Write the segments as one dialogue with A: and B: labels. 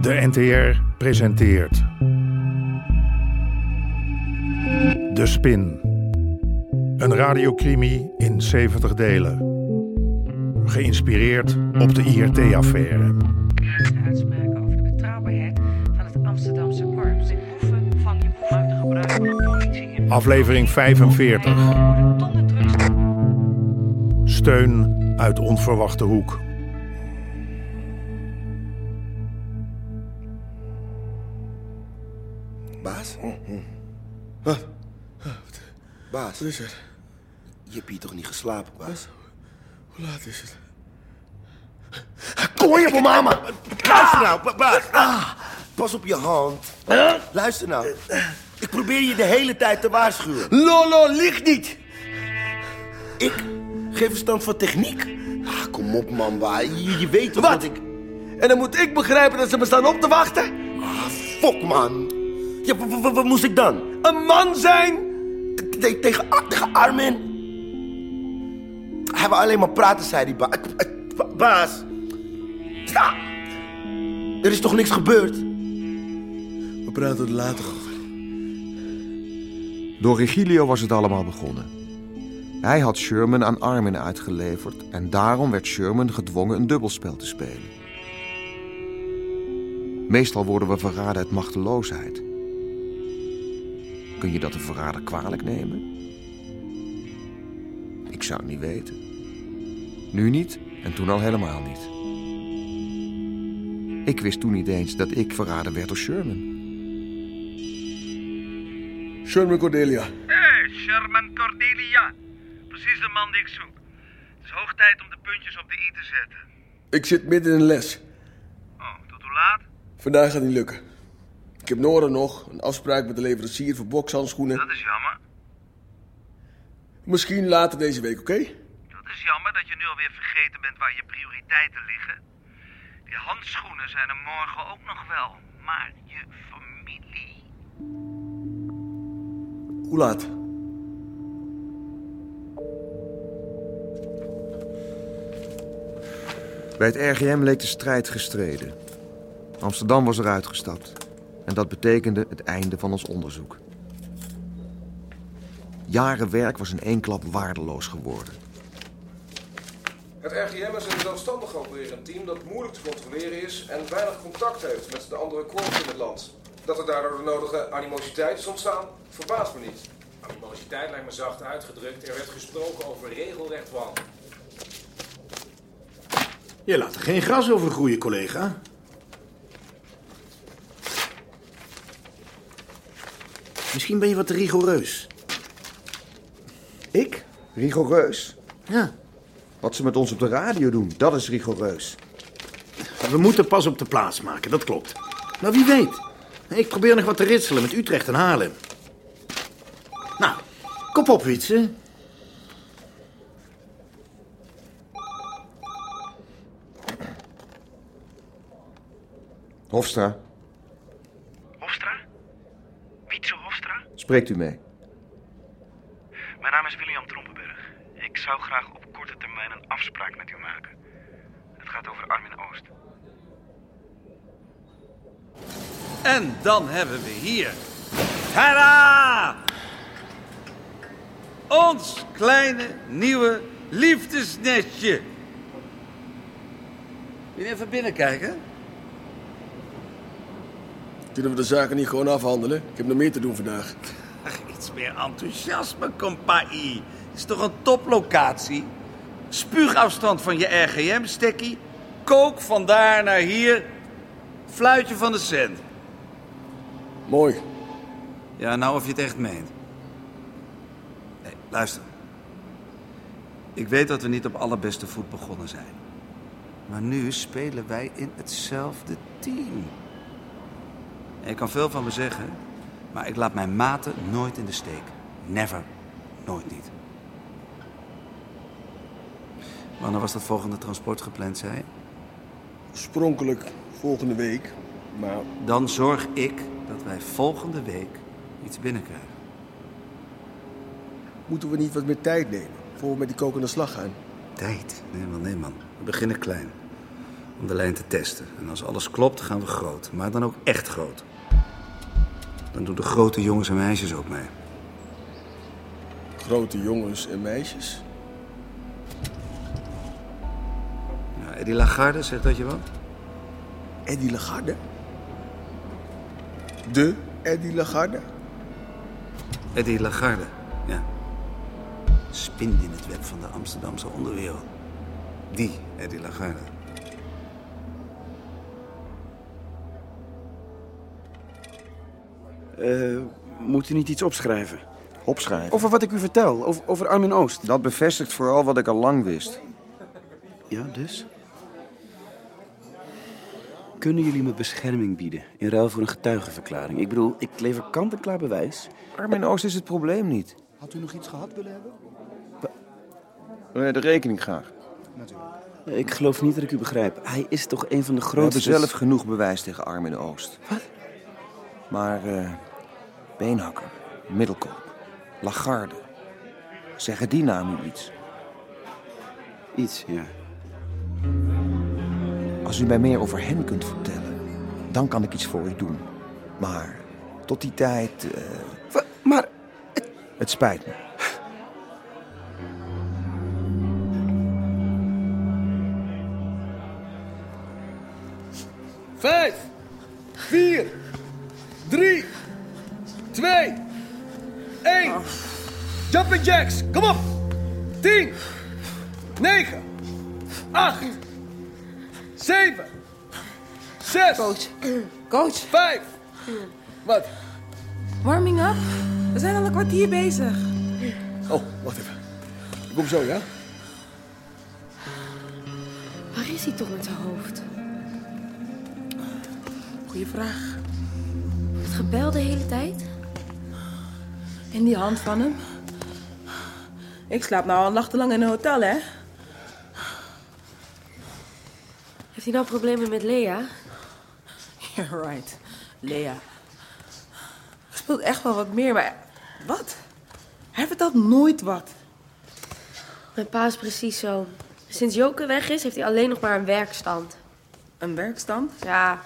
A: De NTR presenteert. De Spin. Een radiocrimi in 70 delen. Geïnspireerd op de IRT-affaire.
B: rare uitspraken over de betrouwbaarheid van het Amsterdamse korps. Dus De boeven van je boeven uit de gebruik van de politie. in-
A: Aflevering 45.
B: Er worden tonnen drugs
A: Steun uit onverwachte hoek.
C: Baas?
D: Oh, Wat?
C: Baas,
D: Wat is het?
C: je hebt hier toch niet geslapen, baas?
D: Hoe laat is het?
C: Ah, Kom je voor mama! Luister nou, ba- baas! Ah, pas op je hand. Luister nou. Ik probeer je de hele tijd te waarschuwen.
D: Lolo, ligt niet!
C: Ik geef verstand van techniek. Ah, kom op, man. Waar? Je, je weet toch
D: Wat?
C: dat ik...
D: En dan moet ik begrijpen dat ze me staan op te wachten?
C: Ah, fuck, man. Ja, wa- wa- wa- wat moest ik dan?
D: Een man zijn?
C: T- te- tegen, Ar- tegen Armin? Hij wil alleen maar praten, zei die baas. Baas. Sta. Er is toch niks gebeurd?
D: We praten er later over.
E: Door Regilio was het allemaal begonnen. Hij had Sherman aan Armin uitgeleverd en daarom werd Sherman gedwongen een dubbelspel te spelen. Meestal worden we verraden uit machteloosheid. Kun je dat de verrader kwalijk nemen? Ik zou het niet weten. Nu niet en toen al helemaal niet. Ik wist toen niet eens dat ik verraden werd door Sherman.
D: Sherman Cordelia.
F: Hé, Sherman Cordelia. Precies de man die ik zoek. Het is hoog tijd om de puntjes op de i te zetten.
D: Ik zit midden in een les.
F: Oh, tot hoe laat?
D: Vandaag gaat niet lukken. Ik heb Nora nog, een afspraak met de leverancier voor bokshandschoenen.
F: Dat is jammer.
D: Misschien later deze week, oké?
F: Dat is jammer dat je nu alweer vergeten bent waar je prioriteiten liggen. Die handschoenen zijn er morgen ook nog wel. Maar je familie...
D: Hoe laat?
E: Bij het RGM leek de strijd gestreden. Amsterdam was eruit gestapt. En dat betekende het einde van ons onderzoek. Jaren werk was in één klap waardeloos geworden.
G: Het RGM is een zelfstandig opererend team dat moeilijk te controleren is en weinig contact heeft met de andere korps in het land. Dat er daardoor de nodige animositeit is ontstaan, verbaast me niet.
H: Animositeit lijkt me zacht uitgedrukt. Er werd gesproken over regelrecht wanhoop.
I: Je laat er geen gras over groeien, collega. Misschien ben je wat te rigoureus.
E: Ik? Rigoureus?
I: Ja.
E: Wat ze met ons op de radio doen, dat is rigoureus.
I: We moeten pas op de plaats maken, dat klopt. Maar wie weet. Ik probeer nog wat te ritselen met Utrecht en Haarlem. Nou, kop op, Wietse.
E: Hofstra,
F: Hofstra? Wietse Hofstra?
E: spreekt u mee.
F: Mijn naam is William Trompenberg. Ik zou graag op korte termijn een afspraak met u maken. Het gaat over Armin Oost.
H: En dan hebben we hier. Tada! Ons kleine nieuwe liefdesnestje. Wil je even binnenkijken?
D: Kunnen we de zaken niet gewoon afhandelen? Ik heb nog meer te doen vandaag.
H: Ach, iets meer enthousiasme, compagnie. Is toch een toplocatie? Spuugafstand van je RGM-stekkie. Kook van daar naar hier. Fluitje van de cent.
D: Mooi.
H: Ja, nou of je het echt meent. Hé, luister. Ik weet dat we niet op allerbeste voet begonnen zijn. Maar nu spelen wij in hetzelfde team. En je kan veel van me zeggen, maar ik laat mijn maten nooit in de steek. Never. Nooit niet. Wanneer was dat volgende transport gepland, zei je?
D: Oorspronkelijk volgende week. Maar
H: Dan zorg ik dat wij volgende week iets binnenkrijgen.
D: moeten we niet wat meer tijd nemen? Voor we met die kokende slag gaan.
H: Tijd? Nee man, nee man. We beginnen klein.
J: om de lijn te testen. En als alles klopt, gaan we groot. Maar dan ook echt groot. Dan doen de grote jongens en meisjes ook mee.
K: Grote jongens en meisjes.
J: Ja, Eddie Lagarde, zegt dat je wat?
K: Eddie Lagarde? De Eddie Lagarde?
J: Eddie Lagarde, ja. Spind in het web van de Amsterdamse onderwereld. Die Eddie Lagarde.
D: Eh, Moet u niet iets opschrijven?
E: Opschrijven.
D: Over wat ik u vertel, over, over Armin Oost.
E: Dat bevestigt vooral wat ik al lang wist.
D: Ja, dus? Kunnen jullie me bescherming bieden in ruil voor een getuigenverklaring? Ik bedoel, ik lever kant-en-klaar bewijs.
E: Armin Oost is het probleem niet.
D: Had u nog iets gehad willen hebben?
E: Eh, De rekening graag.
D: Ik geloof niet dat ik u begrijp. Hij is toch een van de
E: We hebben
D: grootste...
E: zelf genoeg bewijs tegen Armin Oost. Wat? Maar eh, Beenhakker, Middelkoop, Lagarde. Zeggen die namen u iets?
D: Iets, ja.
E: Als u mij meer over hen kunt vertellen, dan kan ik iets voor u doen. Maar tot die tijd, eh,
D: Wa- maar
E: het spijt me.
K: Vijf, vier, drie, twee, één. Jumping jacks, kom op. Tien, negen, acht, zeven, zes,
L: Coach,
K: vijf. Wat?
L: warming up? We zijn al een kwartier bezig.
K: Oh, wacht even. Ik kom zo, ja?
L: Waar is hij toch met zijn hoofd? Goeie vraag. Het gebel de hele tijd? En die hand van hem? Ik slaap nou al nachtenlang in een hotel, hè? Heeft hij nou problemen met Lea? Yeah, right. Lea. Er speelt echt wel wat meer, maar... Wat? Hij vertelt nooit wat.
M: Mijn pa is precies zo. Sinds Joke weg is, heeft hij alleen nog maar een werkstand.
L: Een werkstand?
M: Ja,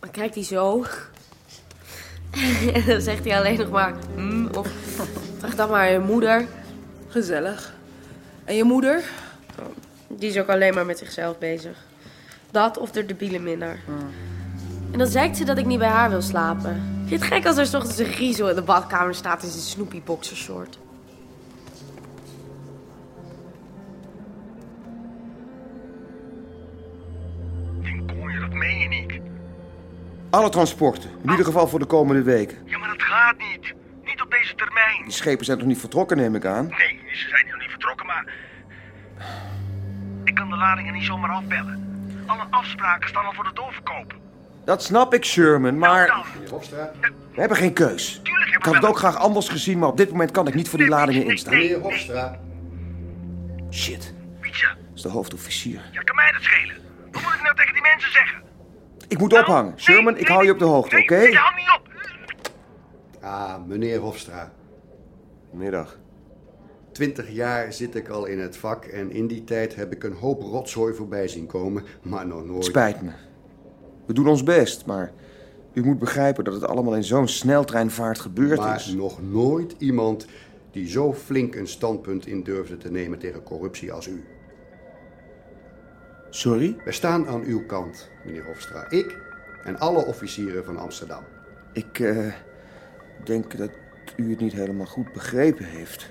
M: dan kijkt hij zo. en dan zegt hij alleen nog maar... "Hmm," of vraag dan maar aan je moeder.
L: Gezellig. En je moeder?
M: Die is ook alleen maar met zichzelf bezig. Dat of de debiele minnaar.
L: Hmm.
M: En dan zeikt ze dat ik niet bij haar wil slapen. Vind je het gek als er 's ochtends een griezel in de badkamer staat in zijn snoepie boxershort?
F: Dinkoeien, dat meen je niet.
E: Alle transporten, in ieder geval voor de komende weken.
F: Ja, maar dat gaat niet. Niet op deze termijn.
E: Die schepen zijn toch niet vertrokken, neem ik aan?
F: Nee, ze zijn nog niet vertrokken, maar... Ik kan de ladingen niet zomaar afbellen. Alle afspraken staan al voor de doorverkoop. Nou
E: Dat snap ik, Sherman,
F: Dan,
E: maar we hebben geen keus.
F: tuurlijk
E: Ik
F: hebben
E: had
F: we
E: het
F: wel-
E: ook graag anders gezien, maar op dit moment kan ik niet voor die ladingen instaan.
F: Nee, nee, nee.
E: Shit,
F: Pietje,
E: dat is de hoofdofficier.
F: ja, kan mij dat schelen. Wat moet ik nou tegen die mensen zeggen? Nou,
E: Ik moet ophangen. Sherman, ik hou je op de hoogte, oké?
F: Nee, hou niet op.
H: Ah, meneer Hofstra.
E: Middag.
H: Twintig jaar zit ik al in het vak en in die tijd heb ik een hoop rotzooi voorbij zien komen, maar nog nooit.
E: Spijt me. We doen ons best, maar u moet begrijpen dat het allemaal in zo'n sneltreinvaart gebeurd
H: maar
E: is.
H: nog nooit iemand die zo flink een standpunt in durfde te nemen tegen corruptie als u.
E: Sorry?
H: We staan aan uw kant, meneer Hofstra. Ik en alle officieren van Amsterdam.
E: Ik eh, denk dat u het niet helemaal goed begrepen heeft.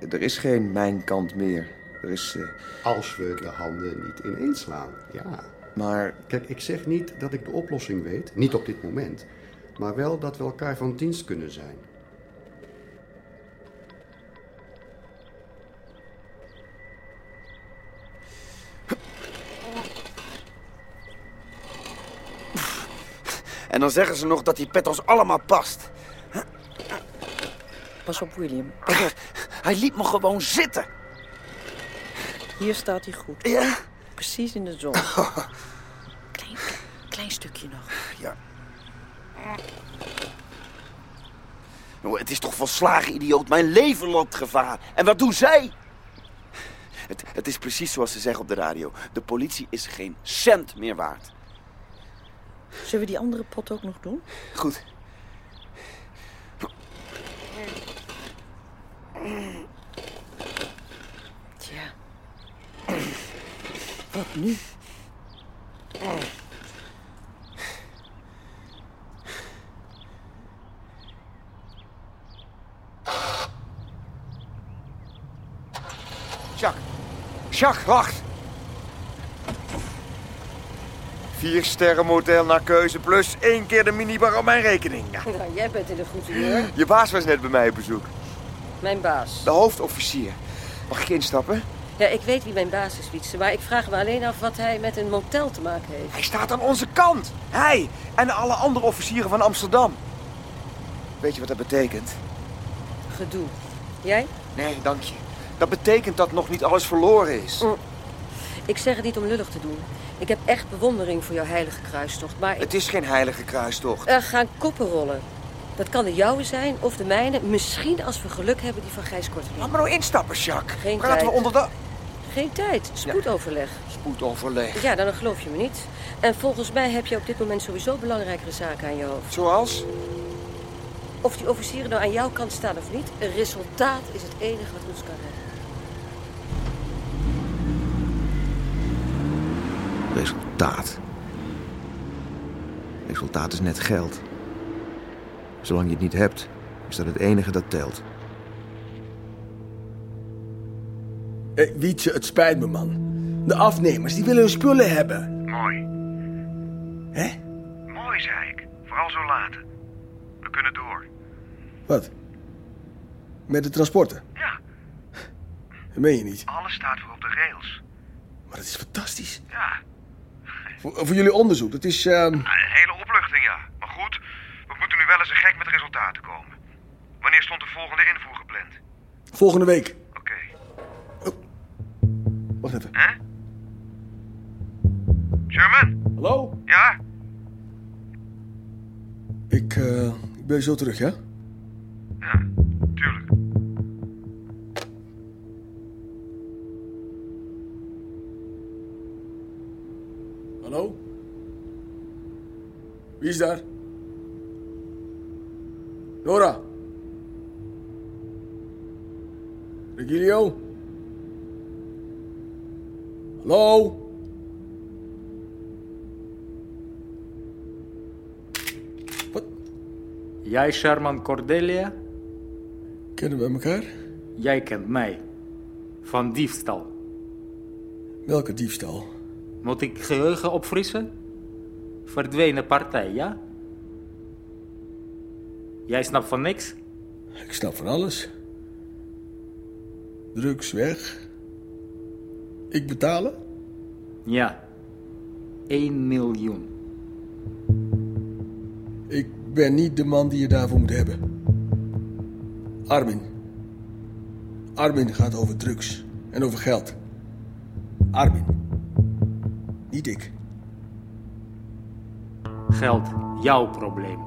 E: Eh, Er is geen mijn kant meer. Er is. eh,
H: Als we de handen niet ineens slaan, ja.
E: maar
H: Kijk, ik zeg niet dat ik de oplossing weet, niet op dit moment, maar wel dat we elkaar van dienst kunnen zijn.
D: En dan zeggen ze nog dat die pet ons allemaal past.
L: Pas op, William.
D: Hij liet me gewoon zitten.
L: Hier staat hij goed.
D: Ja?
L: Precies in de zon. Klein, klein stukje nog.
D: Nou, het is toch volslagen idioot. Mijn leven loopt gevaar. En wat doen zij?
E: Het, het is precies zoals ze zeggen op de radio. De politie is geen cent meer waard.
M: Zullen we die andere pot ook nog doen?
E: Goed.
M: Tja. Wat nu?
E: Jacques. Jacques, wacht. Vier sterren motel naar keuze plus één keer de minibar op mijn rekening. Ja.
L: Nou, jij bent in de goede humeur.
E: Je baas was net bij mij op bezoek.
L: Mijn baas.
E: De hoofdofficier. Mag ik instappen?
L: Ja, ik weet wie mijn baas is, Wietse, maar ik vraag me alleen af wat hij met een motel te maken heeft.
E: Hij staat aan onze kant. Hij en alle andere officieren van Amsterdam. Weet je wat dat betekent?
L: Gedoe. Jij?
E: Nee, dank je. Dat betekent dat nog niet alles verloren is.
L: Mm. Ik zeg het niet om lullig te doen. Ik heb echt bewondering voor jouw heilige kruistocht, maar ik...
E: Het is geen heilige kruistocht.
L: Er Eh, gaan koppen rollen. Dat kan de jouwe zijn of de mijne. Misschien als we geluk hebben die van Gijs Korteling. Laat
E: maar nou instappen, Jacques.
L: Geen
E: Praten
L: tijd.
E: we onder de...
L: Geen tijd. Spoedoverleg.
E: Spoedoverleg.
L: Ja, dan geloof je me niet. En volgens mij heb je op dit moment sowieso belangrijkere zaken aan je hoofd.
E: Zoals?
L: Of die officieren nou aan jouw kant staan of niet, een resultaat is het enige wat ons kan redden.
H: Resultaat. Resultaat is net geld. Zolang je het niet hebt, is dat het enige dat telt.
D: Hé, Eh, Wietse, het spijt me, man. De afnemers, die willen hun spullen hebben.
F: Mooi.
D: Hè?
F: Mooi, zei ik. Vooral zo laat. We kunnen door.
D: Wat? Met de transporten?
F: Ja.
D: Dat meen je niet.
F: Alles staat weer op de rails.
D: Maar het is fantastisch.
F: Ja.
D: Voor, voor jullie onderzoek, dat is... ehm,
F: Een hele opluchting, ja. Maar goed, we moeten nu wel eens een gek met resultaten komen. Wanneer stond de volgende invoer gepland?
D: Volgende week. Oké. Wacht even.
F: Hè? Sherman?
D: Hallo?
F: Ja?
D: Ik, eh, ik ben zo terug, ja?
F: Ja, tuurlijk.
D: Hallo? Wie is daar? Nora? Regilio? Hallo?
N: Jij Sherman Cordelia?
D: Kennen we elkaar?
N: Jij kent mij. Van diefstal.
D: Welke diefstal?
N: Moet ik geheugen opfrissen? Verdwenen partij, ja? Jij snapt van niks?
D: Ik snap van alles. Drugs weg. Ik betalen?
N: Ja. 1 miljoen.
D: Ik ben niet de man die je daarvoor moet hebben. Armin. Armin gaat over drugs en over geld. Armin. Niet ik.
N: Geld, jouw probleem.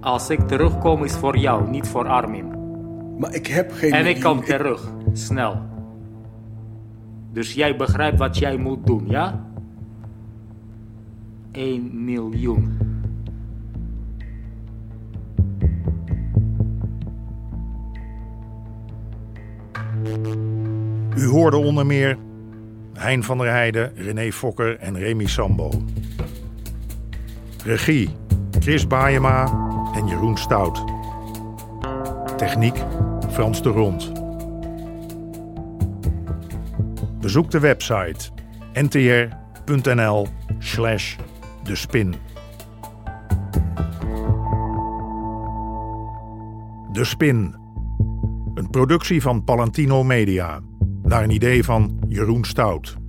N: Als ik terugkom is voor jou, niet voor Armin.
D: Maar ik heb geen.
N: en ik
D: miljoen.
N: kom terug, snel. Dus jij begrijpt wat jij moet doen, ja? 1 miljoen.
A: U hoorde onder meer Hein van der Heijden, René Fokker en Remy Sambo. Regie Chris Baayema en Jeroen Stout. Techniek Frans de Rond. Bezoek de website ntr.nl slash de spin. De Spin. Een productie van Palantino Media. Naar een idee van Jeroen Stout.